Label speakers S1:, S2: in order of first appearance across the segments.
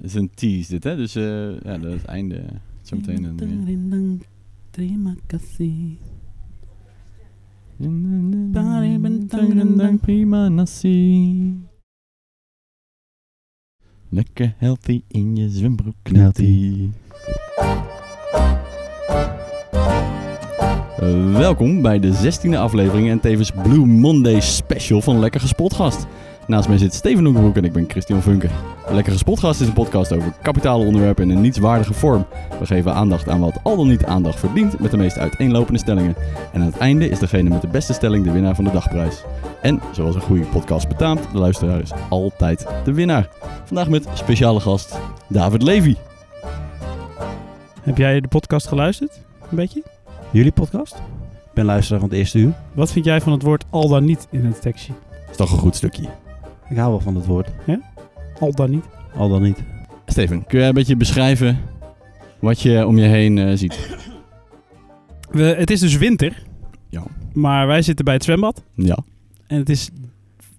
S1: is een tease dit, hè? Dus eh, ja, dat is het einde. Zometeen een... eh,
S2: Terima kasih.
S1: Prima nasi. Lekker healthy in je zwembroek knelt ie. Welkom bij de 16e aflevering en tevens Blue Monday special van Lekker Gespot Gast. Naast mij zit Steven Hoekenbroek en ik ben Christian Funke. Lekker Gespot Gast is een podcast over kapitale onderwerpen in een nietswaardige vorm. We geven aandacht aan wat al dan niet aandacht verdient met de meest uiteenlopende stellingen. En aan het einde is degene met de beste stelling de winnaar van de dagprijs. En zoals een goede podcast betaamt, de luisteraar is altijd de winnaar. Vandaag met speciale gast David Levy.
S3: Heb jij de podcast geluisterd? Een beetje?
S4: Jullie podcast? Ik ben luisteraar van het eerste uur.
S3: Wat vind jij van het woord al dan niet in het tekstje?
S1: Is toch een goed stukje.
S4: Ik hou wel van dat woord.
S3: Al dan niet?
S4: Al dan niet.
S1: Steven, kun jij een beetje beschrijven wat je om je heen eh, ziet?
S3: We, het is dus winter.
S1: Ja.
S3: Maar wij zitten bij het zwembad.
S1: Ja,
S3: En het is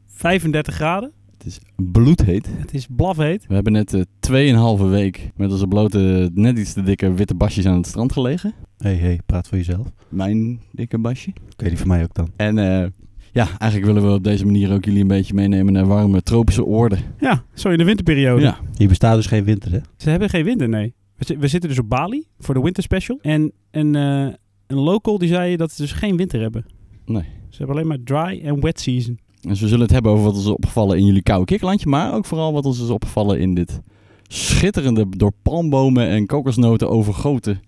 S3: 35 graden.
S1: het is bloedheet.
S3: Het is blafheet.
S1: We hebben net eh 2,5 week met onze blote, net iets te dikke witte basjes aan het strand gelegen.
S4: Hé, hey, hey, praat voor jezelf.
S1: Mijn dikke basje.
S4: Ik weet niet van mij ook dan.
S1: En eh, ja, eigenlijk willen we op deze manier ook jullie een beetje meenemen naar warme tropische oorden.
S3: Ja, zo in de winterperiode.
S1: Ja.
S4: Hier bestaat dus geen winter, hè?
S3: Ze hebben geen winter, nee. We, zi- we zitten dus op Bali voor de winter special. En een, eh, een local die zei dat ze dus geen winter hebben.
S1: Nee.
S3: Ze hebben alleen maar dry en wet season.
S1: Dus we zullen het hebben over wat ons is opgevallen in jullie koude kikkerlandje, maar ook vooral wat ons is opgevallen in dit schitterende, door palmbomen en kokosnoten overgoten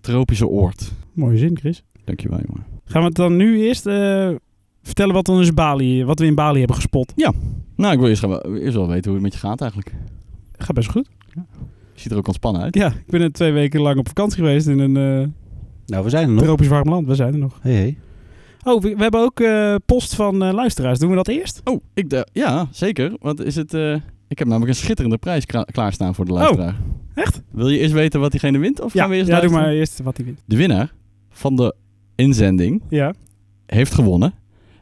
S1: tropische oord.
S3: Mooie zin, Chris.
S1: Dankjewel, jongen.
S3: Gaan we het dan nu eerst eh, vertellen wat, dan is Bali, wat we in Bali hebben gespot?
S1: Nou, ik wil eerst, gaan- eerst wel weten hoe het met je gaat eigenlijk.
S3: Gaat best goed.
S1: Je ziet er ook ontspannen uit.
S3: Ja, ik ben net twee weken lang op vakantie geweest in een eh,
S4: Nou, we zijn er nog.
S3: tropisch warm land. We zijn er nog.
S4: Hé, hé.
S3: Oh, we, we hebben ook eh, post van eh, luisteraars. Doen we dat eerst?
S1: Oh, ik d- ja, zeker. Want is het, eh, ik heb namelijk een schitterende prijs kra- klaarstaan voor de luisteraar.
S3: Oh, echt?
S1: Wil je eerst weten wat diegene wint? Of gaan we eerst
S3: ja doe
S1: luisteren?
S3: maar eerst wat hij wint.
S1: De winnaar van de inzending
S3: Ja.
S1: heeft gewonnen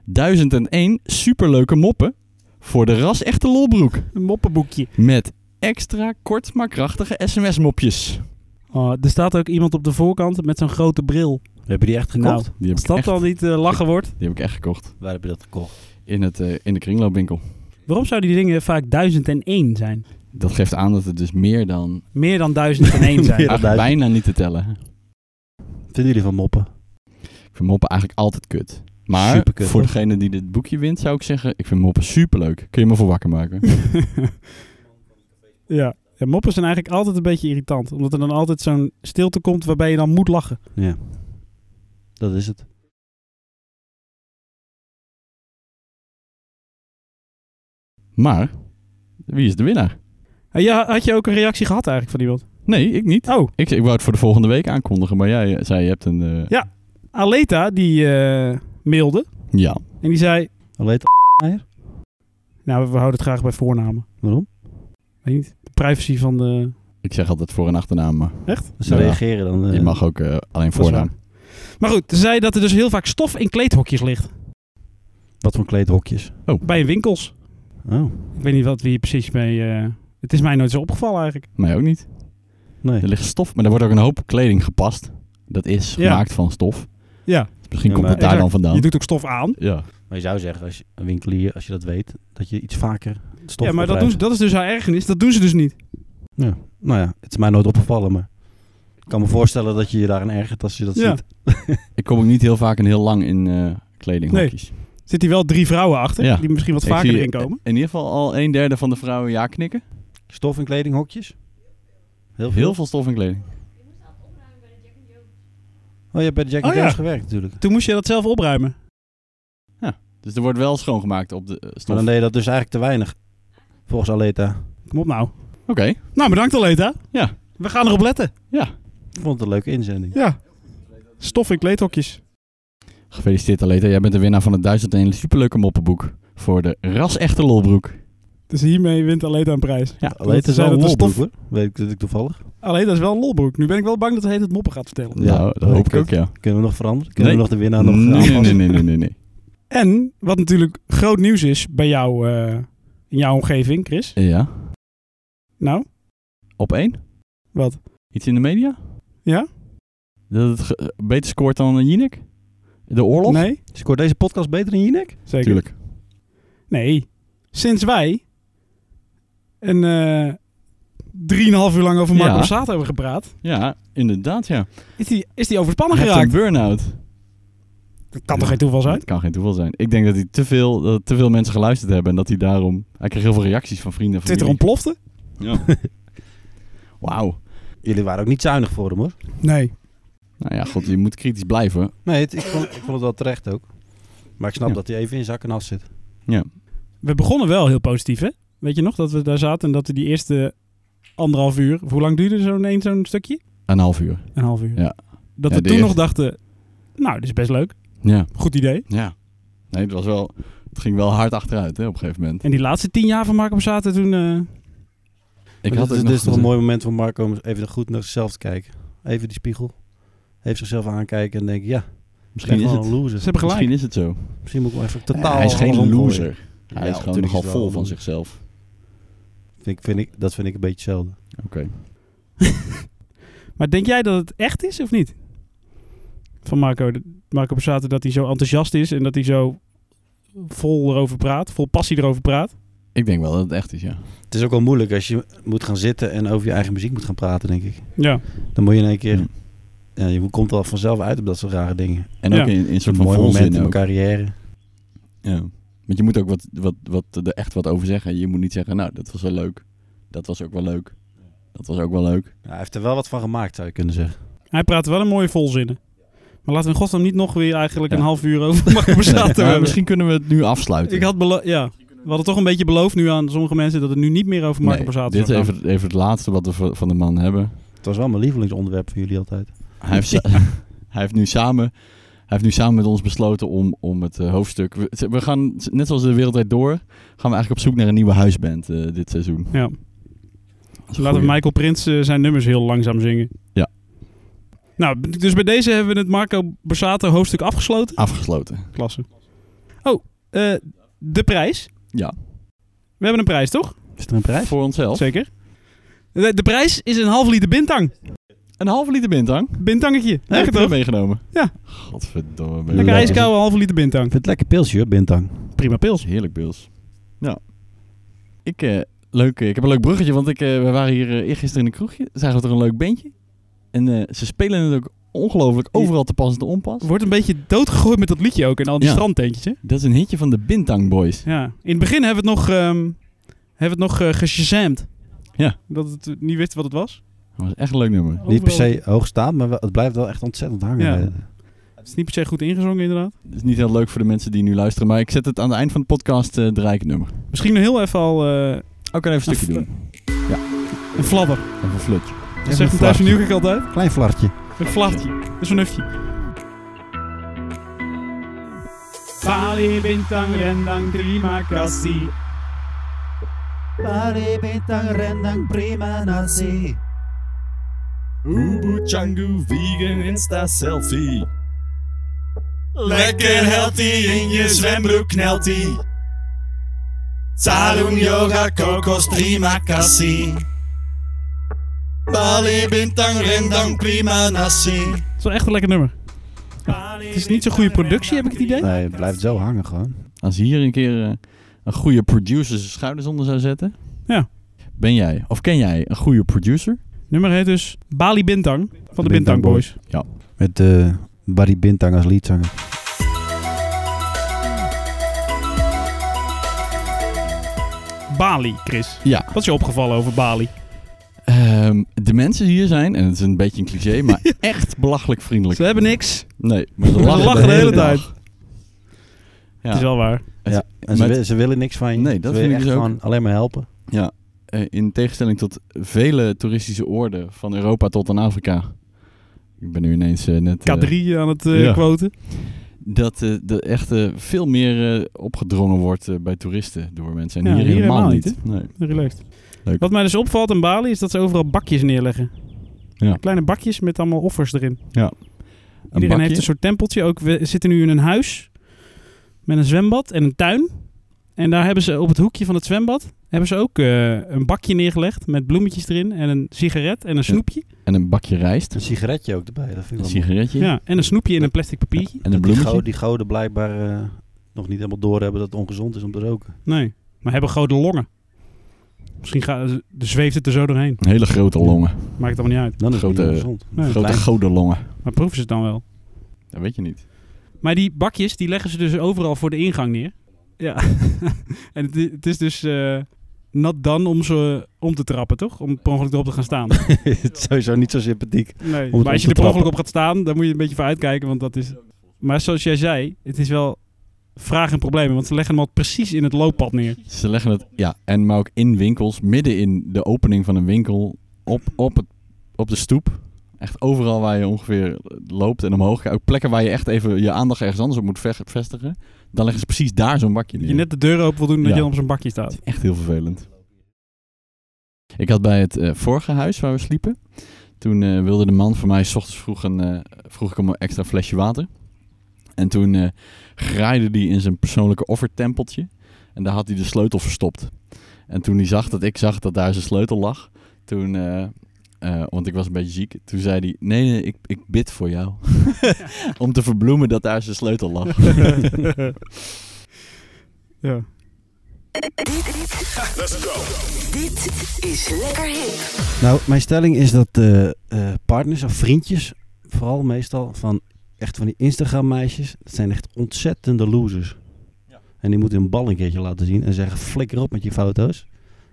S1: 1001 superleuke moppen voor de ras echte lolbroek.
S3: Een moppenboekje.
S1: Met extra kort maar krachtige sms-mopjes.
S3: Oh, er staat ook iemand op de voorkant met zo'n grote bril. Nou,
S4: Heb je die echt gekocht?
S1: Die heb,
S3: Als
S1: ik
S3: dat
S1: echt,
S3: dan niet eh, lachen wordt.
S1: die heb ik echt gekocht.
S4: Waar heb je dat gekocht?
S1: In, het, eh, in de kringloopwinkel.
S3: Waarom zouden die dingen vaak 1001 zijn?
S1: Dat geeft aan dat het dus meer dan...
S3: Meer dan 1001 zijn.
S4: Meer dan-
S1: eigenlijk bijna niet te tellen.
S4: Vinden jullie van moppen?
S1: Ik vind moppen eigenlijk altijd kut. Maar
S4: Superkut,
S1: voor
S4: hoor.
S1: degene die dit boekje wint zou ik zeggen... Ik vind moppen superleuk. Kun je me voor wakker maken.
S3: ja. ja, moppen zijn eigenlijk altijd een beetje irritant. Omdat er dan altijd zo'n stilte komt waarbij je dan moet lachen.
S4: Ja. Dat is het.
S1: Maar, wie is de winnaar?
S3: Eh, Ja, had je ook een reactie gehad eigenlijk van iemand?
S1: Nee, ik niet.
S3: Oh,
S1: Ik, ik wou het voor de volgende week aankondigen, maar jij eh, zei je hebt een... eh,
S3: Ja. Aleta die eh, mailde
S1: ja.
S3: en die zei...
S4: Alleen
S3: Nou, we houden het graag bij voornamen.
S4: Waarom?
S3: Weet niet, de privacy van de...
S1: Ik zeg altijd voor- en achternaam, maar
S4: Ze
S1: Ja.
S4: reageren dan. eh,
S1: je mag ook eh, alleen
S3: is
S1: voornaam.
S3: Maar goed, ze zei dat er dus heel vaak stof in kleedhokjes ligt.
S4: Wat voor kleedhokjes?
S3: Bij winkels.
S4: Oh,
S3: Ik weet niet wat we hier precies mee... eh, het is mij nooit zo opgevallen eigenlijk.
S1: Mij ook niet.
S4: nee.
S1: Er ligt stof, maar er wordt ook een hoop kleding gepast. Dat is
S3: Ja.
S1: gemaakt van stof.
S3: Ja,
S1: Dus misschien
S4: Ja,
S1: komt
S4: maar-
S1: het daar dan vandaan.
S3: je doet ook stof aan.
S1: Ja.
S4: Maar je zou zeggen, als je, een winkelier, als je dat weet, dat je iets vaker stof
S3: ja, maar dat, doen ze,
S4: opruimt.
S3: dat is dus haar ergernis. Dat doen ze dus niet.
S4: Nou ja, het is mij nooit opgevallen, maar... Ik kan me voorstellen dat je je daaraan ergert als je dat
S3: Ja.
S4: ziet.
S1: Ik kom ook niet heel vaak en heel lang in eh kledinghokjes.
S3: Zit hier wel drie vrouwen achter,
S1: Ja.
S3: die misschien wat
S1: Ik
S3: vaker
S1: zie-
S3: erin komen.
S1: In ieder geval al een derde van de vrouwen ja knikken.
S4: Stof en kledinghokjes? Heel veel.
S1: Heel veel stof in kleding.
S4: Oh, je hebt bij de Jack and
S3: Oh,
S4: Jones
S3: ja.
S4: gewerkt natuurlijk.
S3: Toen moest je dat zelf opruimen.
S1: Dus er wordt wel schoongemaakt op de eh,
S4: Maar
S1: stof.
S4: dan
S1: Oké.
S4: deed je dat dus eigenlijk te weinig. Volgens Aleta.
S3: Kom op nou. Nou, bedankt Aleta.
S1: Ja.
S3: We gaan erop letten.
S1: Ja.
S4: Ik vond het een leuke inzending.
S3: Ja. Stof in kleedhokjes.
S1: Gefeliciteerd Aleta. Jij bent de winnaar van het 1001 superleuke moppenboek. Voor de ras-echte lolbroek.
S3: Dus hiermee wint Aleta een prijs.
S1: Ja,
S4: Aleta is
S3: Zij
S4: wel een
S3: dat de
S4: lolbroek
S3: stof-
S4: hoor. Weet ik natuurlijk toevallig.
S3: Alleen dat is wel een lolbroek. Nu ben ik wel bang dat hij het moppen gaat vertellen.
S1: Nou,
S4: Ja,
S1: dat hoop ik
S4: oké.
S1: ook, ja.
S4: Kunnen we nog veranderen? Kunnen
S1: Nee.
S4: we nog de winnaar nog eh,
S1: nee, nee,
S4: aanpassen?
S1: nee, nee, nee, nee.
S3: En wat natuurlijk groot nieuws is bij jou, eh, in jouw omgeving, Chris.
S1: Ja.
S3: Nou,
S1: op één?
S3: Wat?
S1: Iets in de media?
S3: Ja?
S1: Dat het ge- eh, beter scoort dan Jinek? De oorlog?
S3: Nee?
S4: Scoort deze podcast beter dan Jinek?
S3: Zeker.
S1: Tuurlijk.
S3: Nee. Sinds wij een eh, drieënhalf uur lang over Marco
S1: Ja.
S3: Borsato hebben gepraat,
S1: Ja, inderdaad ja.
S3: is die, is die overspannen
S1: Hij heeft
S3: geraakt.
S1: een burn-out.
S3: Dat kan toch geen toeval zijn?
S1: Het kan geen toeval zijn. Ik denk dat, hij te veel, dat te veel mensen geluisterd hebben en dat hij daarom... Hij kreeg heel veel reacties van vrienden. en
S3: Twitter
S1: familie.
S3: ontplofte?
S1: Ja. Wauw.
S4: Jullie waren ook niet zuinig voor hem hoor.
S3: Nee.
S1: Nou ja, god, je moet kritisch blijven.
S4: Nee, het- ik, vond, ik vond het wel terecht ook. Maar ik snap
S1: Ja.
S4: dat hij even in zak en as zit.
S3: We begonnen wel heel positief, hè? Weet je nog dat we daar zaten en dat we die eerste anderhalf uur... of Hoe lang duurde zo'n één zo'n stukje?
S1: Een half uur.
S3: Een half uur.
S1: Ja.
S3: Dat
S1: Ja,
S3: we
S1: de
S3: toen nog
S1: eerste.
S3: dachten, nou, dit is best leuk.
S1: Ja.
S3: Goed idee.
S1: Ja. Nee, het was wel... Het ging wel hard achteruit hè, op een gegeven moment.
S3: En die laatste tien jaar van Marco Borsato toen... eh,
S1: Ik
S4: Maar
S1: had ook nog
S4: dit dit is toch
S1: gezegd-
S4: een dus mooi moment voor Marco om even goed naar zichzelf te kijken. Even die spiegel. Even zichzelf aankijken en denken, ja, ik
S1: Misschien
S4: ben
S1: is,
S4: gewoon
S1: het,
S4: een loser.
S3: ze hebben gelijk.
S1: misschien is het zo.
S4: Misschien moet ik wel even totaal...
S1: hij is geen
S4: alles omgooien.
S1: loser. Hij is
S4: Ja,
S1: gewoon
S4: natuurlijk
S1: nogal
S4: is
S1: vol
S4: wel
S1: van
S4: een-
S1: zichzelf.
S4: Vind ik, vind ik, dat vind ik een beetje hetzelfde.
S3: Maar denk jij dat het echt is of niet? Van Marco, Marco Borsato dat hij zo enthousiast is en dat hij zo vol erover praat, vol passie erover praat.
S1: Ik denk wel dat het echt is, ja.
S4: Het is ook wel moeilijk als je moet gaan zitten en over je eigen muziek moet gaan praten, denk ik.
S3: Ja.
S4: Dan moet je in één keer...
S1: Hm.
S4: Ja, je komt al vanzelf uit op dat soort rare dingen.
S1: En
S3: Ja.
S1: ook in, in een soort van
S4: Een mooi moment in
S1: volzin
S4: mijn
S1: ook.
S4: carrière.
S1: Ja. Want je moet ook wat, wat, wat, er echt wat over zeggen. Je moet niet zeggen, nou, dat was wel leuk. Dat was ook wel leuk. Dat was ook wel leuk.
S4: Ja, hij heeft er wel wat van gemaakt, zou je kunnen zeggen.
S3: Hij praat wel een mooie volzinnen. Maar laten we in godsnaam niet nog weer eigenlijk
S1: Ja.
S3: een half uur over Marco Borsato
S1: Maar
S3: hebben.
S1: misschien kunnen we het nu afsluiten.
S3: Ik had belo- ja. We hadden toch een beetje beloofd nu aan sommige mensen dat het nu niet meer over Marco
S1: Nee,
S3: Borsato
S1: dit is
S3: zou gaan.
S1: even, even het laatste wat we van van de man hebben.
S4: Het was wel mijn lievelingsonderwerp voor jullie altijd.
S1: Hij heeft, sa- hij heeft, nu, samen, hij heeft nu samen met ons besloten om, om het eh, hoofdstuk... We, we gaan, net zoals de wereldwijd door, gaan we eigenlijk op zoek naar een nieuwe huisband eh, dit seizoen.
S3: Ja.
S1: Dat is een
S3: Laten we
S1: goeie.
S3: Michael Prins eh, zijn nummers heel langzaam zingen.
S1: Ja.
S3: Nou, b- dus bij deze hebben we het Marco Borsato hoofdstuk afgesloten.
S1: Afgesloten.
S3: Klasse. Oh, eh, de prijs.
S1: Ja.
S3: We hebben een prijs, toch?
S4: Is er een prijs?
S1: Voor onszelf.
S3: Zeker. De, de prijs is een half liter bintang.
S1: Een halve liter bintang.
S3: Bintangetje.
S1: Heb
S3: Echt
S1: ik weer
S3: toch?
S1: meegenomen?
S3: Ja.
S1: Godverdomme.
S3: Lekker
S4: Ja.
S3: ijskoude halve liter bintang.
S4: Ik vind het lekker pilsje, hoor, Bintang.
S3: Prima pils.
S1: Heerlijk, Bills. Ja. Ik, eh, leuk, eh, ik heb een leuk bruggetje, want ik, eh, we waren hier eh, eergisteren in een kroegje. Zagen we er een leuk bandje. En eh, ze spelen het ook ongelooflijk overal te pas en te onpas.
S3: Wordt een beetje doodgegooid met dat liedje ook en al die
S1: Ja.
S3: strandtentjes. hè?
S1: Dat is een hitje van de Bintang Boys.
S3: Ja. In het begin hebben we het nog, ehm hebben we het nog eh, geshazamd.
S1: Ja.
S3: Dat het niet wist wat het was.
S1: Dat was echt een leuk nummer.
S4: Niet per se hoogstaand, maar wel- het blijft wel echt ontzettend hangen.
S3: Ja.
S4: Eh,
S3: Het is niet per se goed ingezongen inderdaad.
S1: Het is niet heel leuk voor de mensen die nu luisteren, maar ik zet het aan het eind van de podcast eh draai ik het nummer.
S3: Misschien nog heel even al eh,
S1: Ook kan even een stukje
S3: Een
S1: doen.
S3: een flabber.
S1: Even een flutje.
S4: even
S3: Dat zegt
S4: een
S3: hem thuis
S4: flartje.
S3: van Nieuwkerk altijd.
S4: Klein flartje.
S3: Een flatje. Een snufje. Bali bintang rendang terima kasih.
S5: Pare bintang rendang prima nasi
S1: Ubu Changu Vegan Insta Selfie.
S5: Lekker healthy in je zwembroek knelt ie Sarung yoga kokos prima kassi Bali bintang rendang prima nasi
S3: Het is wel echt een lekker nummer. Het is niet zo'n goede productie, heb ik het idee.
S4: Nee, het blijft zo hangen gewoon.
S1: Als hier een keer eh, een goede producer zijn schouders onder zou zetten.
S3: Ja.
S1: Ben jij, of ken jij een goede producer?
S3: Nummer heet dus Bali Bintang van de
S4: De
S3: Bintang
S4: Bintang
S3: Boys.
S4: Met eh Barry Bintang als liedzanger.
S3: Bali, Chris.
S1: Ja.
S3: Wat is je opgevallen over Bali?
S1: Ehm, de mensen hier zijn, en het is een beetje een cliché, maar echt belachelijk vriendelijk.
S3: Ze hebben niks.
S1: Nee, maar ze
S3: Ze
S1: lachen,
S3: lachen de hele tijd.
S1: dag. Ja.
S3: Het is wel waar.
S1: Het-
S4: Ja. En ze,
S1: maar het-
S4: wi- ze willen niks van je.
S1: Nee, dat vind
S4: ze willen
S1: ik
S4: echt
S1: dus ook.
S4: gewoon alleen maar helpen.
S1: eh, in tegenstelling tot vele toeristische oorden, van Europa tot aan Afrika. Ik ben nu ineens eh, net... eh,
S3: K3 aan het eh
S1: ja.
S3: quoten.
S1: dat eh er echt eh, veel meer eh, opgedrongen wordt eh, bij toeristen door mensen. En
S3: Ja,
S1: hier,
S3: hier
S1: helemaal,
S3: helemaal
S1: niet. Nee.
S3: Relaxed.
S1: Leuk.
S3: Wat mij dus opvalt in Bali is dat ze overal bakjes neerleggen.
S1: Ja.
S3: Kleine bakjes met allemaal offers erin.
S1: Een
S3: Iedereen
S1: bakje.
S3: heeft dus- een soort tempeltje. Ook we zitten nu in een huis met een zwembad en een tuin. En daar hebben ze op het hoekje van het zwembad Hebben ze ook eh, een bakje neergelegd met bloemetjes erin en een sigaret en een snoepje.
S1: En een bakje rijst.
S4: Een sigaretje ook erbij, dat vind
S1: Een
S4: ik wel mooi.
S1: sigaretje.
S3: Ja, en een snoepje in een plastic papiertje.
S1: En een
S4: Die
S1: bloemetje.
S4: goden, die goden blijkbaar eh, nog niet helemaal doorhebben dat het ongezond is om te roken.
S3: Nee, maar hebben grote longen. Misschien ga, de- zweeft het er zo doorheen.
S1: Hele grote longen.
S3: Maakt allemaal niet uit.
S4: Dan is het niet
S1: Grote-
S4: ongezond.
S3: Nee.
S1: Grote
S4: Klein.
S1: godenlongen.
S3: Maar proeven ze het dan wel.
S1: Dat weet je niet.
S3: Maar die bakjes, die leggen ze dus overal voor de ingang neer. Ja. en het, i- het is dus eh, nat dan om ze om te trappen, toch? Om per ongeluk erop te gaan staan.
S4: het is sowieso niet zo sympathiek.
S3: Nee.
S4: om
S3: Maar als je
S4: te
S3: er per ongeluk
S4: trappen.
S3: op gaat staan, dan moet je een beetje voor uitkijken, want dat is... Maar zoals jij zei, het is wel vraag en problemen, want ze leggen hem al precies in het looppad neer.
S1: Ze leggen het, ja, en maar ook in winkels, midden in de opening van een winkel, op, op, het, op de stoep. Echt overal waar je ongeveer loopt en omhoog. gaat. Ook plekken waar je echt even je aandacht ergens anders op moet ve- vestigen. Dan leggen ze precies daar zo'n bakje
S3: Dat
S1: neer.
S3: je net de deur open wil doen en dat
S1: Ja.
S3: je dan op zo'n bakje staat.
S1: Echt heel vervelend. Ik had bij het eh, vorige huis waar we sliepen. Toen eh, wilde de man van mij, s ochtends vroeg, een, eh, vroeg ik hem een extra flesje water. En toen eh graaide hij in zijn persoonlijke offertempeltje. En daar had hij de sleutel verstopt. En toen hij zag dat ik zag dat daar zijn sleutel lag. Toen, eh, eh, want ik was een beetje ziek. Toen zei hij, nee, nee, ik, ik bid voor jou. Om te verbloemen dat daar zijn sleutel lag.
S3: ja.
S6: Dit is lekker hip.
S4: Nou, mijn stelling is dat eh, eh, partners of vriendjes, vooral meestal van echt van die Instagram meisjes, dat zijn echt ontzettende losers. En die moeten hun bal een keertje laten zien en zeggen flikker op met je foto's.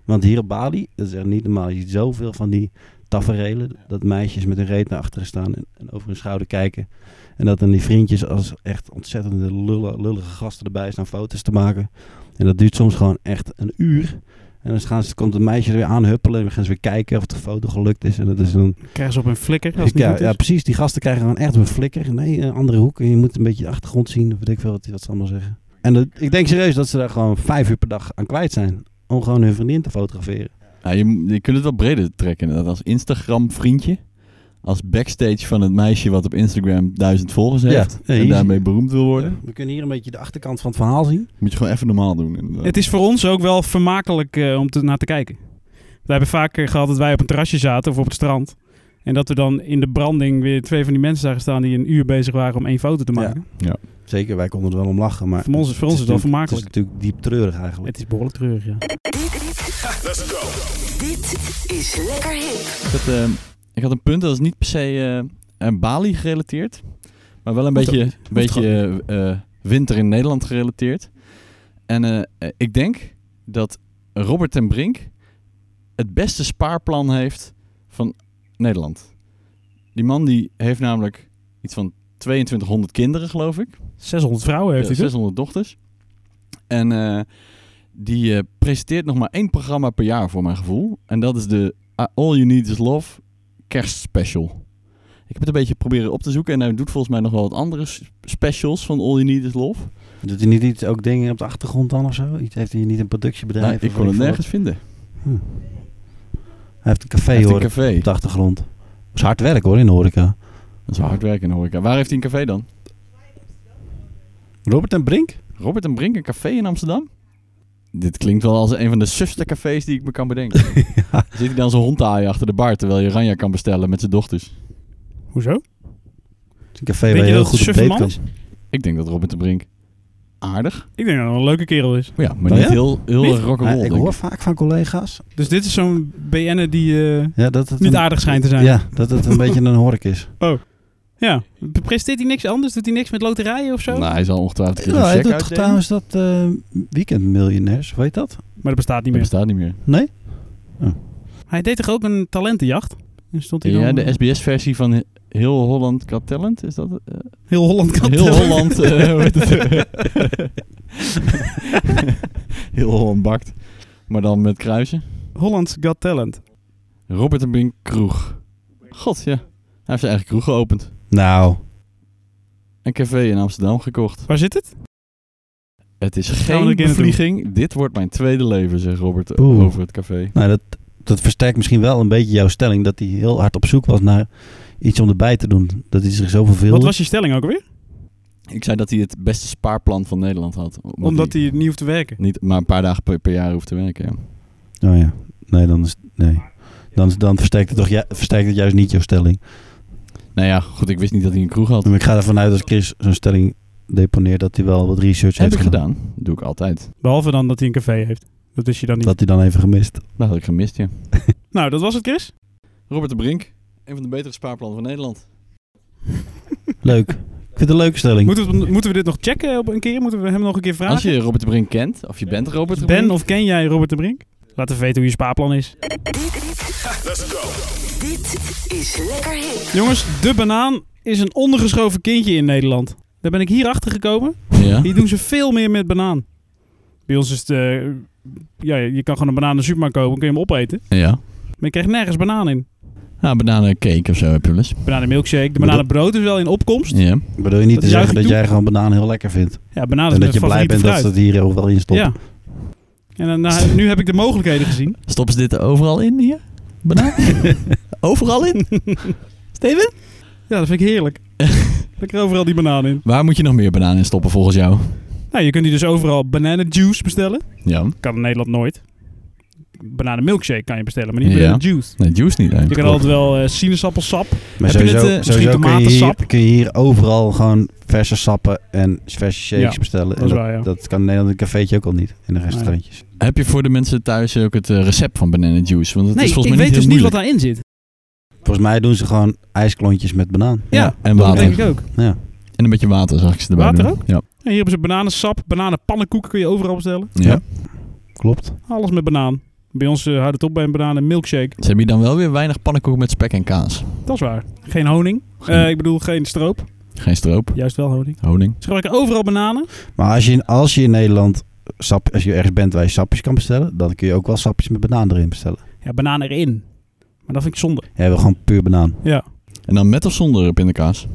S4: Want hier op Bali, dat is echt niet normaal. Je ziet zoveel van die taferelen, dat meisjes met hun reet naar achteren staan en, en over hun schouder kijken. En dat dan die vriendjes als echt ontzettende lulle- lullige gasten erbij staan foto's te maken. En dat duurt soms gewoon echt een uur. En dan gaan ze, komt het meisje er weer aanhuppelen en dan gaan ze weer kijken of de foto gelukt is. En dat is dan...
S3: Krijgen ze op een flikker als het niet
S4: ja,
S3: goed is.
S4: ja, precies. Die gasten krijgen gewoon echt een flikker. Nee, een andere hoek. En je moet een beetje de achtergrond zien. Of weet ik veel wat, wat ze allemaal zeggen. En dat- ik denk serieus dat ze daar gewoon vijf uur per dag aan kwijt zijn. Om gewoon hun vriendin te fotograferen.
S1: Ja, Nou, je, m- je kunt het wel breder trekken. inderdaad. Als Instagram-vriendje. Als backstage van het meisje wat op Instagram duizend volgers heeft.
S4: Ja,
S1: en
S4: hier-
S1: daarmee beroemd wil worden.
S4: We kunnen hier een beetje de achterkant van het verhaal zien.
S1: Moet je gewoon even normaal doen. inderdaad.
S3: Het is voor ons ook wel vermakelijk eh, om te, naar te kijken. We hebben vaker gehad dat wij op een terrasje zaten of op het strand. En dat we dan in de branding weer twee van die mensen zagen staan die een uur bezig waren om één foto te maken.
S4: Zeker, wij konden er wel om lachen. Maar
S3: Voor ons is- voor ons is het wel
S4: natuurlijk-
S3: vermakelijk.
S4: Het is natuurlijk diep treurig eigenlijk.
S3: Het is behoorlijk treurig, ja.
S6: Dit is lekker hip.
S1: Ik, had, eh, ik had een punt, dat is niet per se eh, aan Bali gerelateerd. Maar wel een
S3: Hoeft
S1: beetje,
S3: ook
S1: een beetje eh, eh, winter in Nederland gerelateerd. En eh, eh, ik denk dat Robert ten Brink het beste spaarplan heeft van Nederland. Die man die heeft namelijk iets van 2200 kinderen, geloof ik.
S3: 600 vrouwen heeft
S1: Ja,
S3: hij dus.
S1: 600 dochters. En eh, die eh, presenteert nog maar één programma per jaar voor mijn gevoel. En dat is de A- All You Need Is Love kerstspecial. Ik heb het een beetje proberen op te zoeken. En hij doet volgens mij nog wel wat andere s- specials van All You Need Is Love.
S4: Doet hij niet iets, ook dingen op de achtergrond dan of zo? Iets, heeft hij niet een productiebedrijf?
S1: Nou, ik
S4: of
S1: kon
S4: weet
S1: het
S4: veel
S1: nergens vinden.
S4: wat? Hm. Hij heeft een café
S1: Hij heeft
S4: hoor.
S1: een café.
S4: op de achtergrond. Dat is hard werk hoor in de horeca.
S1: Dat is wel hard werken in de horeca. Waar heeft hij een café dan?
S4: Robert en Brink?
S1: Robert en Brink, een café in Amsterdam? Dit klinkt wel als een van de sufste cafés die ik me kan bedenken. Zit hij dan zo'n hond te aaien achter de bar terwijl je Ranja kan bestellen met zijn dochters?
S3: Hoezo?
S4: Een café
S3: Denk
S4: waar
S3: je
S4: je heel
S3: dat het
S4: goed op date
S3: suffe man
S4: kan.
S3: is?
S1: Ik denk dat Robert de Brink aardig,
S3: Ik denk dat hij een leuke kerel is.
S1: maar ja, maar
S4: Oh
S1: niet
S4: ja?
S1: heel, heel
S3: Niet?
S1: rock'n'roll.
S4: Ja, ik
S1: denk
S4: hoor
S1: ik.
S4: vaak van collega's
S3: Dus dit is zo'n BN'er die eh,
S4: ja, dat het
S3: niet
S4: een-
S3: aardig schijnt te zijn.
S4: Ja, dat het een beetje een hork is.
S3: ja. Presteert hij niks anders? Doet hij niks met loterijen of zo?
S1: Nou, hij zal ongetwijfeld een keer
S4: Ja,
S1: een
S4: hij
S1: check
S4: doet toch
S1: uitdelen.
S4: trouwens dat eh weekendmiljonairs, weet dat?
S3: Maar dat bestaat
S1: Dat
S3: niet meer.
S1: bestaat niet meer.
S4: Nee?
S3: Hij deed toch ook een talentenjacht? En stond hij
S1: Ja,
S3: dan,
S1: de SBS-versie van He- Heel Holland Got Talent, is dat het? Eh,
S3: heel Holland kan
S1: heel
S3: tellen.
S1: Holland... eh, hoe heet het? heel Holland bakt, maar dan met kruisen.
S3: Holland's Got Talent.
S1: Robert de Brink Kroeg. God, ja. Hij heeft zijn eigen kroeg geopend.
S4: Nou,
S1: Een café in Amsterdam gekocht.
S3: Waar zit het?
S1: Het is
S3: we er
S1: geen
S3: een keer naartoe.
S1: bevlieging. Dit wordt mijn tweede leven, zegt Robert eh,
S4: Oeh.
S1: over het café.
S4: nou dat, dat versterkt misschien wel een beetje jouw stelling dat hij heel hard op zoek was naar iets om erbij te doen. Dat hij zich zo verveelde.
S3: Wat was je stelling ook alweer?
S1: Ik zei dat hij het beste spaarplan van Nederland had. Omdat,
S3: Omdat hij niet hoeft te werken.
S1: niet maar een paar dagen per, per jaar hoeft te werken. Ja.
S4: Oh ja. Nee, dan is... Nee. Dan, dan versterkt, het toch, ju- versterkt het juist niet jouw stelling.
S1: Nou ja, goed, ik wist niet dat hij een kroeg had.
S4: Maar ik ga ervan uit dat Chris zo'n stelling deponeert... dat hij wel wat research
S1: Heb
S4: heeft
S1: ik gedaan. doe ik altijd.
S3: Behalve dan dat hij een café heeft. Dat wist je dan niet.
S4: Dat hij dan even gemist.
S1: Dat had ik gemist, ja.
S3: Nou, dat was het, Chris.
S1: Robert de Brink. Een van de betere spaarplannen van Nederland.
S4: Leuk. Ik vind het een leuke stelling.
S3: Moeten we, moeten we dit nog checken op een keer? Moeten we hem nog een keer vragen?
S1: Als je Robert de Brink kent, of je bent Robert de
S3: Ben
S1: Brink.
S3: of ken jij Robert de Brink? Laat even weten hoe je spaarplan is.
S6: Dit, dit is lekker hip.
S3: Jongens, de banaan is een ondergeschoven kindje in Nederland. Daar ben ik hier achter gekomen.
S1: Ja.
S3: Hier doen ze veel meer met banaan. Bij ons is het... eh, ja, je kan gewoon een banaan in de supermarkt kopen. kun je hem opeten.
S1: Ja.
S3: Maar je krijgt nergens banaan in.
S1: Nou, bananencake of zo heb je wel eens.
S3: Bananenmilkshake. De bananenbrood is wel in opkomst.
S1: Ja.
S4: Bedoel je niet
S3: Dat
S4: te
S3: is
S4: zeggen dat
S3: juist
S4: jij gewoon banaan heel lekker vindt?
S3: Ja, banaan is
S4: en
S3: mijn
S4: dat je blij
S3: favoriete
S4: bent dat
S3: fruit.
S4: ze het hier overal in stoppen?
S3: Ja. En dan, nou, nu heb ik de mogelijkheden gezien.
S1: Stoppen ze dit overal in hier? Banaan? overal in? Steven?
S3: Ja, dat vind ik heerlijk. Lekker overal die banaan in.
S1: Waar moet je nog meer bananen in stoppen volgens jou?
S3: Nou, je kunt hier dus overal bananenjuice bestellen.
S1: Ja.
S3: Kan in Nederland nooit. Bananenmilkshake kan je bestellen, maar niet
S1: Ja.
S3: bananenjuice.
S1: Nee, juice niet.
S3: Je kan altijd wel eh, sinaasappelsap.
S4: Maar
S1: Heb je
S4: sowieso,
S1: net, eh,
S4: sowieso kun, je hier,
S3: tomatensap?
S4: kun je hier overal gewoon verse sappen en verse shakes
S3: Ja,
S4: bestellen.
S3: dat is
S4: En
S3: waar, ja.
S4: dat kan in Nederland in een cafeetje ook al niet. In de restaurantjes.
S1: Heb je voor de mensen thuis ook het eh, recept van bananenjuice? Want het
S3: Nee,
S1: is
S3: ik
S1: volgens
S3: weet
S1: mij
S3: dus
S1: niet heel
S3: niet wat
S1: moeilijk.
S3: daarin zit.
S4: Volgens mij doen ze gewoon ijsklontjes met banaan.
S3: Ja,
S1: en
S3: dat
S1: water.
S3: denk ik ook.
S1: En een beetje water zag ik ze erbij
S3: Water
S1: doen. Ja.
S3: En hier hebben ze bananensap, bananenpannenkoeken kun je overal bestellen.
S1: ja.
S4: Ja. Klopt.
S3: Alles met banaan. Bij ons eh, houdt het op bij een bananenmilkshake.
S1: Ze hebben hier dan wel weer weinig pannenkoeken met spek en kaas.
S3: Dat is waar. Geen honing.
S1: Geen-
S3: Eh, ik bedoel, geen stroop.
S1: Geen stroop,
S3: Juist wel honing.
S1: honing.
S3: Ze gebruiken overal bananen.
S4: Maar als je, in- als je in Nederland, sap, als je ergens bent waar je sapjes kan bestellen, dan kun je ook wel sapjes met banaan erin bestellen.
S3: Ja, banaan erin. Maar dat vind ik zonde.
S4: Ja, we gewoon puur banaan.
S3: Ja,
S1: En dan met of zonder pindakaas?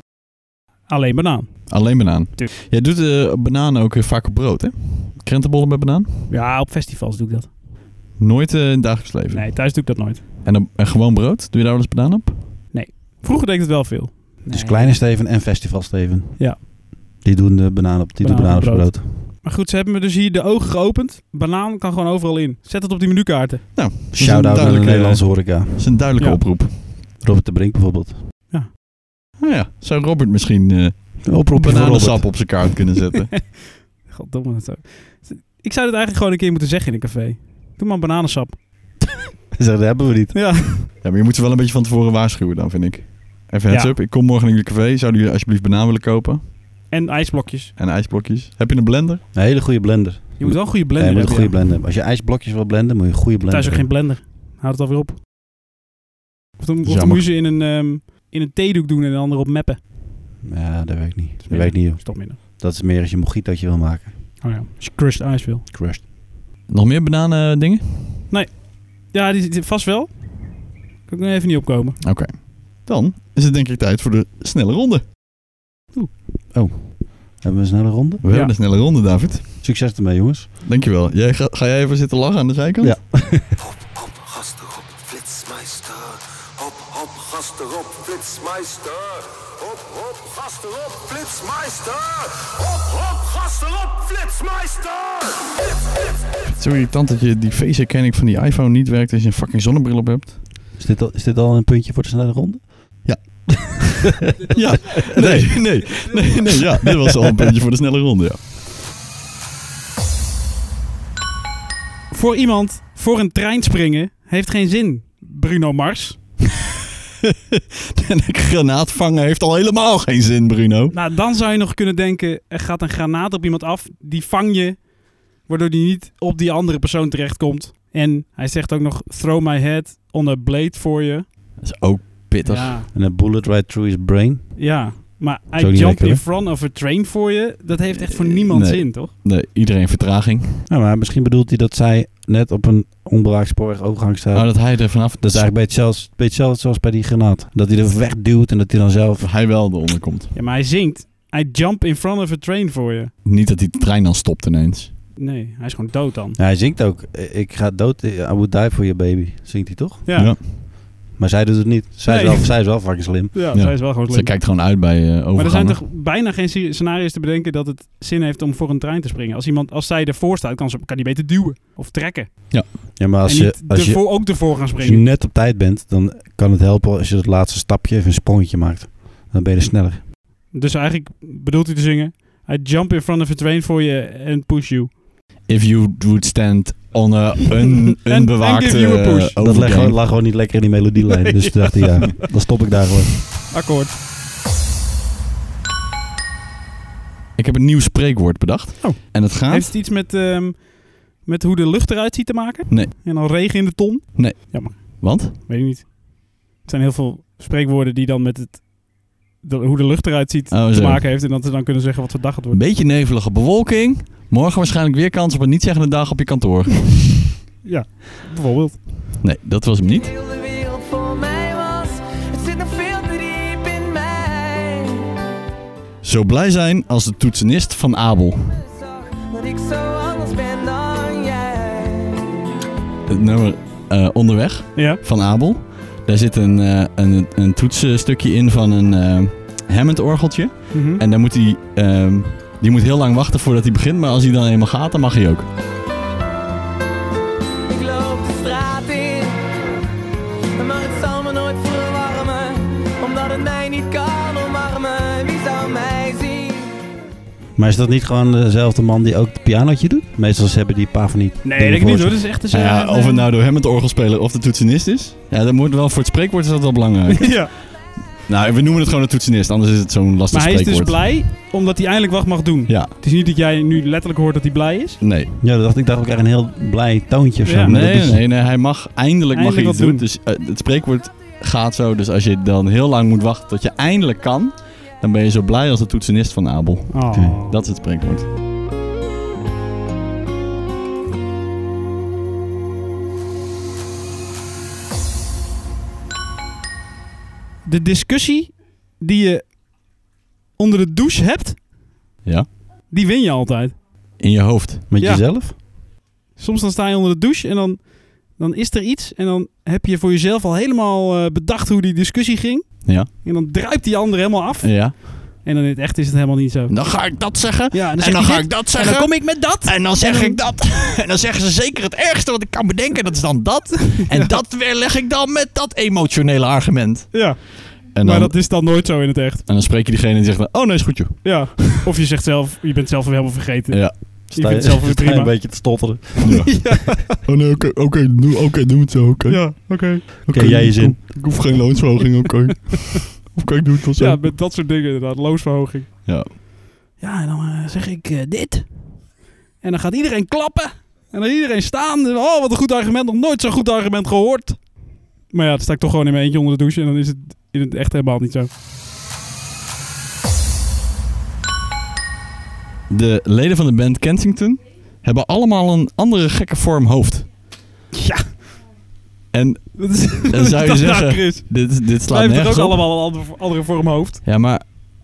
S3: alleen banaan.
S1: Alleen banaan.
S3: Tuurlijk.
S1: Jij doet eh banaan ook eh, vaak op brood, hè? Krentenbollen met banaan?
S3: Ja, op festivals doe ik dat.
S1: Nooit eh, in het dagelijks leven.
S3: Nee, thuis doe ik dat nooit.
S1: En, dan, en gewoon brood? Doe je daar wel eens banaan op?
S3: Vroeger deed ik het wel veel.
S4: Dus
S3: Nee.
S4: Kleine Steven en Festival Steven.
S3: Ja.
S4: Die doen de banaan op, die doen
S3: Banaan
S4: banaan
S3: op
S4: op zijn brood.
S3: Maar goed, ze hebben me dus hier de ogen geopend. Banaan kan gewoon overal in. Zet het op die menukaarten.
S1: Dat is een
S4: Shout-out naar de
S1: duidelijke-
S4: Nederlandse horeca.
S1: Dat is een duidelijke
S3: Ja.
S1: oproep.
S4: Robert de Brink bijvoorbeeld.
S1: Nou ja, zou Robert misschien eh
S4: Oproep
S1: bananensap op zijn kaart kunnen zetten?
S3: Goddomme. dat zo. Ik zou dit eigenlijk gewoon een keer moeten zeggen in een café. Doe maar een bananensap.
S4: Zeg, dat hebben we niet.
S3: Ja.
S1: ja, maar je moet ze wel een beetje van tevoren waarschuwen dan, vind ik. Even heads
S3: Ja.
S1: up, ik kom morgen in jullie café. Zouden jullie alsjeblieft banaan willen kopen?
S3: En ijsblokjes.
S1: En ijsblokjes. Heb je een blender?
S4: Een hele goede blender.
S3: Je moet wel een goede
S4: Ja, je
S3: blender
S4: moet een
S3: hebben.
S4: goede
S3: ja.
S4: blender hebben. Als je ijsblokjes wil blenden, moet je een goede blender
S3: Thuis ook geen blender. Houd het alweer op. Of dan, of dan
S1: Jammer.
S3: moet je ze in een, ehm, in een theedoek doen en de ander op meppen.
S4: hebben. Ja, dat werkt niet. Dat
S3: meer.
S4: werkt niet, joh.
S3: Dat is toch minder.
S4: Dat is meer als je een mojitootje wil maken.
S3: Oh ja. Als je crushed ijs wil.
S4: Crushed.
S1: Nog meer bananen dingen?
S3: Ja, die, die- vast wel. Kan ik nog even niet opkomen.
S1: Oké. Dan is het denk ik tijd voor de snelle ronde.
S4: Hebben we een snelle ronde?
S1: We
S3: Ja.
S1: hebben een snelle ronde, David.
S4: Succes ermee, jongens.
S1: Dankjewel. Jij, ga, ga jij even zitten lachen aan de zijkant?
S4: Ja.
S7: Hop, hop, gasten, hop, flitsmeister. Hop, hop, gasten, hop, flitsmeister. Hop, hop, gasten, hop, flitsmeister. Hop, hop, gasten, hop, flitsmeister.
S1: Zo irritant dat je die face herkenning van die iPhone niet werkt als je een fucking zonnebril op hebt.
S4: Is dit, al, is dit al een puntje voor de snelle ronde?
S1: Ja. Nee, nee, nee, nee. Ja, dit was al een puntje voor de snelle ronde, ja.
S3: Voor iemand voor een trein springen heeft geen zin. Bruno Mars.
S1: En een granaat vangen heeft al helemaal geen zin, Bruno.
S3: Nou, dan zou je nog kunnen denken: er gaat een granaat op iemand af. Die vang je, waardoor die niet op die andere persoon terechtkomt. En hij zegt ook nog: throw my head on a blade voor je.
S1: Dat is ook pittig.
S3: Ja,
S4: En een bullet right through his brain.
S3: ja. Maar I
S4: ook niet
S3: jump
S4: lekker,
S3: in
S4: hè? Eh,
S3: front of a train voor je. Dat heeft echt voor niemand
S1: Nee.
S3: zin, toch?
S1: Nee, iedereen vertraging.
S4: Nou, maar misschien bedoelt hij dat zij net op een onbewaakt spoorweg overgang staat.
S1: Maar Eh, Oh, dat hij er vanaf...
S4: dat is eigenlijk bij hetzelfde, bij hetzelfde zoals bij die granaat. Dat hij er wegduwt en dat hij dan zelf...
S1: Of hij wel eronder komt.
S3: Ja, maar hij zingt: I jump in front of a train voor je.
S1: Niet dat die trein dan stopt ineens.
S3: Nee, hij is gewoon dood dan.
S4: Ja, hij zingt ook. eh, Ik ga dood. eh, I would die for your baby. Zingt hij toch?
S3: Ja.
S1: Ja.
S4: Maar zij doet het niet. Zij,
S3: Nee.
S4: is, wel, zij is wel fucking slim.
S3: Ja,
S1: Ja.
S3: zij is wel gewoon
S1: Ze
S3: slim.
S1: kijkt gewoon uit bij eh
S3: Maar er zijn
S1: overgangen.
S3: toch bijna geen sce- scenario's te bedenken dat het zin heeft om voor een trein te springen. Als, iemand, als zij ervoor staat, kan, ze, kan die beter duwen of trekken.
S4: Ja, maar als
S3: en
S4: je,
S3: niet
S4: als, je,
S3: ervoor, ook ervoor gaan
S4: als je
S3: springen.
S4: net op tijd bent, dan kan het helpen als je dat laatste stapje even een sprongetje maakt. Dan ben je er sneller.
S3: Dus eigenlijk bedoelt hij te zingen. I jump in front of a train for you and push you.
S1: If you would stand on a un,
S3: and
S1: unbewaakte
S3: give you a push.
S1: eh,
S4: dat lag
S1: overgang.
S4: gewoon, lag gewoon niet lekker in die melodielijn.
S3: Nee,
S4: dus toen dacht hij, ja, dan stop ik daar gewoon.
S3: Akkoord.
S1: Ik heb een nieuw spreekwoord bedacht.
S3: Oh.
S1: En het gaat...
S3: Heeft het iets met, ehm, met hoe de lucht eruit ziet te maken?
S1: Nee.
S3: En dan regen in de ton?
S1: Want?
S3: Weet ik niet. Het zijn heel veel spreekwoorden die dan met het, de- hoe de lucht eruit ziet
S1: Oh,
S3: te
S1: zo.
S3: maken heeft. En dat ze dan kunnen zeggen wat voor dag het
S1: Een
S3: wordt.
S1: beetje nevelige bewolking. Morgen waarschijnlijk weer kans op een niet-zeggende dag op je kantoor.
S3: Bijvoorbeeld.
S1: Nee, dat was hem niet.
S8: Heel de wereld voor mij was. Het zit nog veel te diep in mij.
S1: Zo blij zijn als de toetsenist van Abel.
S8: Zag dat ik zo anders ben dan jij.
S1: Het nummer eh, Onderweg
S3: Ja.
S1: van Abel. Daar zit een, eh, een, een toetsenstukje in van een eh Hammond-orgeltje.
S3: Mhm.
S1: En dan moet hij... ehm, die moet heel lang wachten voordat hij begint. Maar als hij dan eenmaal gaat, dan mag hij ook.
S8: Ik loop de straat in. Maar het zal me nooit verwarmen. Omdat het mij niet kan omarmen. Wie zou mij zien?
S4: Maar is dat niet gewoon dezelfde man die ook het pianootje doet? Meestal hebben die paar van die...
S3: Nee,
S4: dingen
S3: denk ik niet
S4: voor
S3: hoor. Dat is echt een eh,
S1: Nou ja, of het nou door hem het orgelspeler of de toetsenist is. Ja, dat moet wel voor het spreekwoord is dat wel belangrijk.
S3: ja.
S1: nou, we noemen het gewoon een toetsenist, anders is het zo'n lastig
S3: Maar hij is dus
S1: spreekwoord.
S3: blij omdat hij eindelijk wat mag doen.
S1: Ja.
S3: Het is niet dat jij nu letterlijk hoort dat hij blij is.
S1: Nee.
S4: Ja, dat dacht ik dacht ik echt een heel blij toontje of zo.
S3: Ja,
S4: maar dat
S1: Nee,
S4: is-
S1: nee, nee, hij mag eindelijk, mag
S3: Eindelijk
S1: hij
S3: wat
S1: iets doen.
S3: doen.
S1: Dus eh, het spreekwoord gaat zo. Dus als je dan heel lang moet wachten tot je eindelijk kan, dan ben je zo blij als de toetsenist van Abel.
S3: Oh.
S4: Oké,
S1: Dat is het spreekwoord.
S3: De discussie die je onder de douche hebt,
S1: Ja.
S3: die win je altijd.
S1: In je hoofd.
S4: Met
S3: Ja.
S4: jezelf?
S3: Soms dan sta je onder de douche en dan, dan is er iets. En dan heb je voor jezelf al helemaal eh, bedacht hoe die discussie ging.
S1: Ja.
S3: En dan druipt die ander helemaal af.
S1: Ja.
S3: En dan in het echt is het helemaal niet zo.
S1: Dan ga ik dat zeggen.
S3: Ja, en
S1: En dan
S3: zegt
S1: ga
S3: hij
S1: ik
S3: dit,
S1: dat
S3: En dan
S1: zeggen.
S3: kom ik met dat.
S1: En dan zeg
S3: En dan-
S1: ik dat. En dan zeggen ze zeker het ergste wat ik kan bedenken. Dat is dan dat. En dat weerleg ik dan met dat emotionele argument.
S3: Ja,
S1: En
S3: maar
S1: dan,
S3: dat is dan nooit zo in het echt.
S1: en dan spreek je diegene die zegt... dan, Oh nee, is goed joh.
S3: Ja. Of je zegt zelf, je bent zelf weer helemaal vergeten.
S1: Ja.
S3: Je vindt het zelf weer
S4: sta je een
S3: prima.
S4: beetje te stotteren.
S1: Oh nee, oké, oké, doe, oké, doe het zo. Oké,
S3: Ja, oké.
S4: Oké, jij je zin.
S1: Ik hoef geen loonsverhoging, oké. oké, ik doe het wel
S3: Ja, met dat soort dingen inderdaad. Loonsverhoging.
S1: Ja.
S3: Ja, en dan eh, zeg ik eh, dit. En dan gaat iedereen klappen. En dan iedereen staan. Oh, wat een goed argument. Nog nooit zo'n goed argument gehoord. Maar ja, dan sta ik toch gewoon in mijn eentje onder de douche. En dan is het in het echt helemaal niet zo.
S1: De leden van de band Kensington hebben allemaal een andere gekke vorm hoofd.
S3: Ja.
S1: En
S3: Dat is,
S1: dan zou je
S3: dat
S1: zeggen,
S3: daar, Chris.
S1: dit, dit
S3: Wij
S1: slaat
S3: hebben toch
S1: nergens
S3: ook
S1: op.
S3: allemaal een andere, andere vorm hoofd.
S1: Ja, maar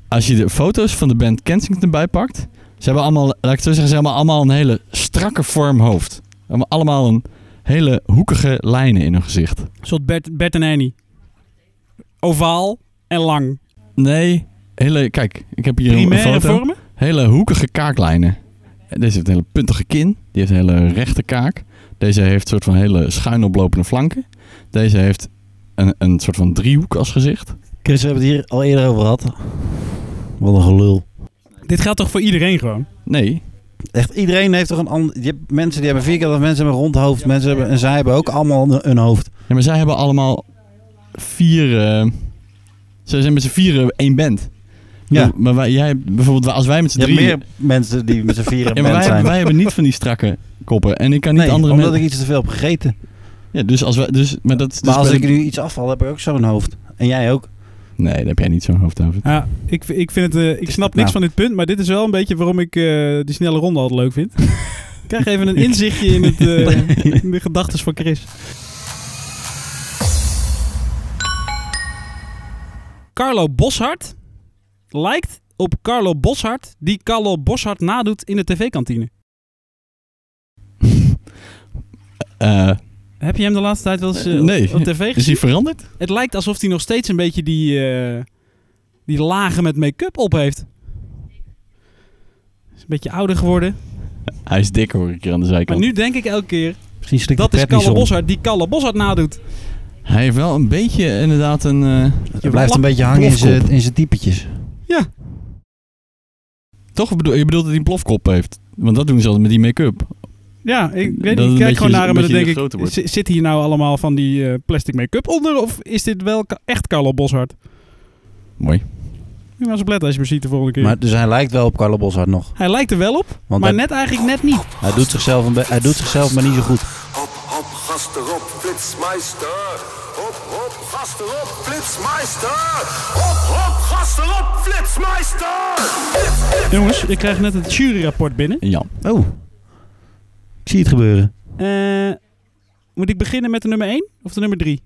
S1: als je de foto's van de band Kensington bijpakt... Ze hebben allemaal, laat ik het zo zeggen, ze hebben allemaal een hele strakke vorm hoofd. Ze hebben allemaal een hele hoekige lijnen in hun gezicht.
S3: Een soort Bert, Bert en Annie. Ovaal en lang.
S1: Nee, hele, kijk, ik heb hier een
S3: Primaire
S1: foto.
S3: vormen.
S1: Hele hoekige kaaklijnen. En Deze heeft een hele puntige kin. Die heeft een hele rechte kaak. Deze heeft een soort van hele schuin oplopende flanken. Deze heeft een, een soort van driehoek als gezicht.
S4: Chris, we hebben het hier al eerder over gehad. Wat een gelul.
S3: Dit gaat toch voor iedereen gewoon?
S1: Nee,
S4: Echt, iedereen heeft toch een ander... Je hebt mensen die hebben vierkant, hoofd, mensen hebben een rond hoofd. Mensen hebben, en zij hebben ook allemaal een, een hoofd.
S1: ja, maar zij hebben allemaal vier... eh, ze zijn met z'n vieren één band.
S4: Ja.
S1: Maar wij, jij, hebt bijvoorbeeld als wij met z'n
S4: Je hebt
S1: drieën...
S4: meer mensen die met z'n
S1: Ja,
S4: vieren een
S1: maar
S4: band
S1: wij,
S4: zijn.
S1: wij hebben niet van die strakke koppen. En ik kan niet
S4: nee,
S1: andere
S4: omdat
S1: mensen...
S4: ik iets te veel heb gegeten.
S1: Ja, dus als wij... Dus, maar dat, is dus
S4: maar als
S1: bij
S4: ik
S1: de-
S4: nu iets afval, heb ik ook zo'n hoofd. En jij ook.
S1: Nee, dan heb jij niet zo'n hoofd over.
S3: Ja, ik, ik, vind het, eh, ik snap
S4: nou?
S3: niks van dit punt, maar dit is wel een beetje waarom ik eh, die snelle ronde altijd leuk vind. ik krijg even een inzichtje in, het, eh, in de gedachten van Chris. Carlo Boshart lijkt op Carlo Boshart die Carlo Boshart nadoet in de tv-kantine.
S1: Eh,
S3: Heb je hem de laatste tijd wel eens eh, op-
S1: nee.
S3: op tv
S1: Is
S3: gezien?
S1: hij veranderd?
S3: Het lijkt alsof hij nog steeds een beetje die, eh, die lagen met make-up op heeft. Is een beetje ouder geworden.
S1: Hij is dik hoor ik hier aan de
S3: Maar
S1: zijkant.
S3: nu denk ik elke keer,
S4: Misschien slikt
S3: dat
S4: de
S3: is
S4: pret niet
S3: Kalle
S4: om.
S3: Boshart die Kalle Boshart nadoet.
S1: Hij heeft wel een beetje inderdaad een... eh,
S4: Hij blijft een beetje hangen in zijn- in zijn typetjes.
S1: toch bedoel, je bedoelt dat hij een plofkop heeft? Want dat doen ze altijd met die make-up.
S3: Ja, ik
S1: Dat het een
S3: weet niet. Ik kijk gewoon
S1: beetje-
S3: naar hem
S1: een
S3: en dan
S1: beetje
S3: denk
S1: groter
S3: ik,
S1: wordt.
S3: zi- zit hier nou allemaal van die eh, plastic make-up onder? Of is dit wel ka- echt Carlo Boshart?
S1: Mooi.
S3: Moet je maar eens op letten als je me ziet de volgende keer.
S4: Maar, dus hij lijkt wel op Carlo Boshart nog.
S3: hij lijkt er wel op,
S4: Want
S3: maar
S4: hij-
S3: net eigenlijk net niet.
S4: Hij doet zichzelf, een be- hij doet zichzelf maar niet zo goed.
S7: Hop, hop, gas erop, flitsmeister. Hop, hop, gas erop, flitsmeister. Hop, hop, gas erop, flitsmeister.
S3: Jongens, ik krijg net het juryrapport binnen.
S1: Jan.
S4: Oh. Ik zie het gebeuren.
S3: Eh, moet ik beginnen met de nummer 1 of de nummer 3?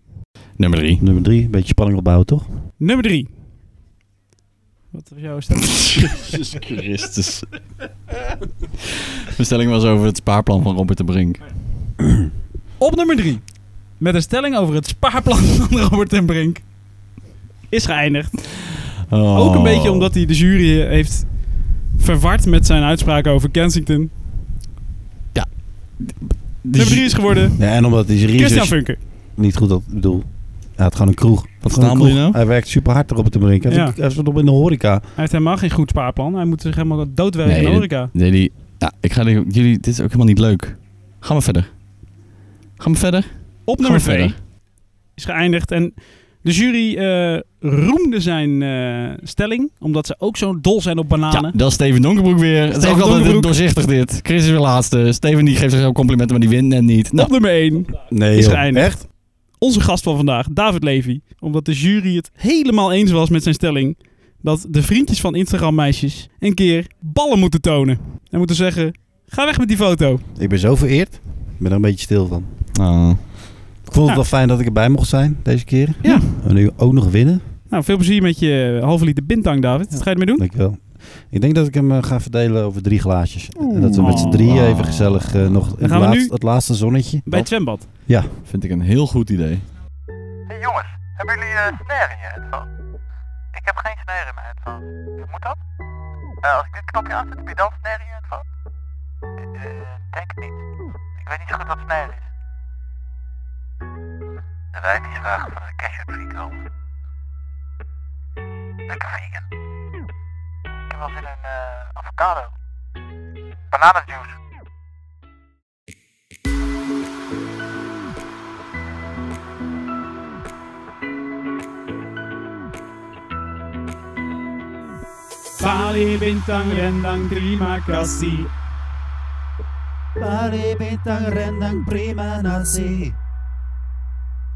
S1: Nummer drie.
S4: Nummer drie, een beetje spanning opbouwen, toch?
S3: Nummer 3. Wat was jouw stem?
S1: Jezus Christus. De stelling was over het spaarplan van Robert de Brink.
S3: Op nummer 3. Met een stelling over het spaarplan van Robert en Brink. Is geëindigd.
S1: Oh.
S3: Ook een beetje omdat hij de jury heeft verward met zijn uitspraken over Kensington.
S1: De
S3: Nummer
S1: ju-
S3: 3 is geworden
S4: Ja, en omdat hij zijn
S3: Christian
S4: research
S3: Funke.
S4: niet goed had. Ik bedoel, hij had gewoon een kroeg. Hij had gewoon een
S1: stamel je
S4: kroeg.
S1: nou?
S4: Hij werkt super hard erop te brengen. Hij
S3: Ja.
S4: ja. nog in de horeca.
S3: Hij heeft helemaal geen goed spaarplan. Hij moet zich helemaal doodwerken
S1: Nee,
S3: in de
S1: dit-
S3: horeca.
S1: Nee, die... Ja, ik ga die- jullie... Dit is ook helemaal niet leuk. Ga maar verder. Ga maar verder.
S3: Op nummer
S1: Gewoon
S3: 2
S1: verder.
S3: is geëindigd. En de jury eh, roemde zijn eh, stelling. Omdat ze ook zo dol zijn op
S1: Ja,
S3: bananen.
S1: dat is Steven Donkerbroek weer. het is
S3: Steven
S1: ook altijd een
S3: Donkerbroek.
S1: doorzichtig dit. Chris is weer laatste. Steven die geeft zichzelf complimenten, maar die wint net niet. Nou,
S3: Op nummer 1
S4: Nee,
S3: is
S4: joh.
S3: geëindigd. Onze gast van vandaag, David Levy. Omdat de jury het helemaal eens was met zijn stelling. Dat de vriendjes van Instagram meisjes een keer ballen moeten tonen. En moeten zeggen, ga weg met die foto.
S4: Ik ben zo vereerd. Ik ben er een beetje stil van.
S1: oh.
S4: Ik vond
S3: Ja.
S4: het wel fijn dat ik erbij mocht zijn deze keer.
S3: Ja.
S4: En nu ook nog winnen.
S3: Nou, veel plezier met je halve liter bintang, David. Wat ga je ermee doen?
S4: Dankjewel. Ik denk dat ik hem eh, ga verdelen over drie glaasjes. En dat we met z'n
S3: Oeh.
S4: drieën even gezellig eh, nog in het,
S3: gaan we
S4: laatste-
S3: nu-
S4: het laatste zonnetje.
S3: Bij
S1: Nou.
S3: het zwembad.
S1: Vind ik een heel goed idee.
S9: Hey jongens, hebben jullie eh snaren in je headphone? Ik heb geen snaren in mijn headphone. Moet dat? Eh, als ik dit knopje aanzet, heb je dan snaren in je headphone? Eh, eh, denk het niet. Ik weet niet zo goed wat snaren is. De wijn is graag van de cashew tree komen. Lekker vegan. Ik heb wel zin in eh, avocado. Bananenjuice.
S2: Bali bintang rendang terima kasih.
S5: Pari bintang rendang prima nasi.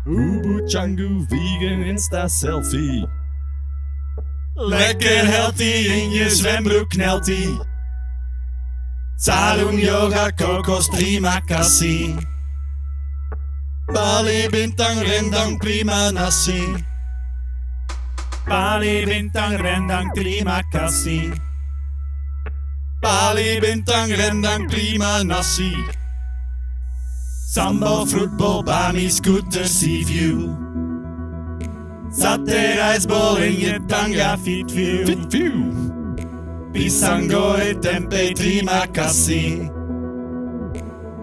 S1: Ubu Changu vegan insta selfie.
S5: Lekker healthy in je zwembroek knelt ie. Sarun yoga kokos prima kassi. Bali bintang rendang prima nasi. Bali bintang rendang prima kassi. Bali bintang rendang prima nasi. Sambal fruitbol bami scooter sea view. Zat de rijstbol in je tanga fitview. Pisangoe tempe prima kassi.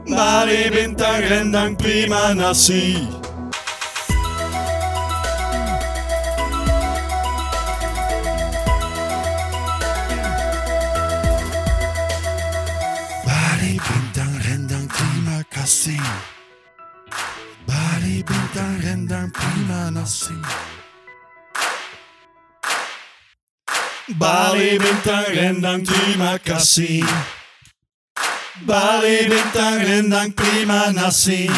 S5: Bali bintang rendang prima nasi. Bali bintang rendang prima kassi. Bali bintang rendang prima nasi. Bali bintang rendang prima kassi. Bali bintang rendang prima nasi.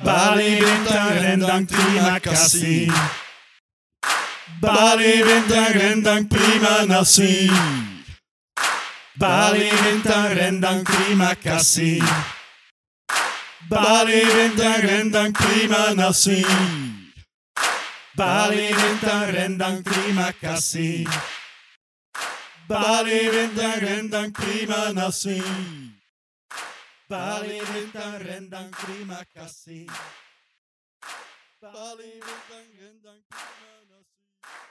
S5: Bali bintang rendang prima kassi. Bali bintang rendang prima nasi. Bali bintang rendang prima kassi. Bali bintang rendang prima nasi. Bali bintang rendang prima kassi. Bali bintang rendang prima nasi. Pali bintang rendang terima kasih. Pali bintang rendang terima kasih.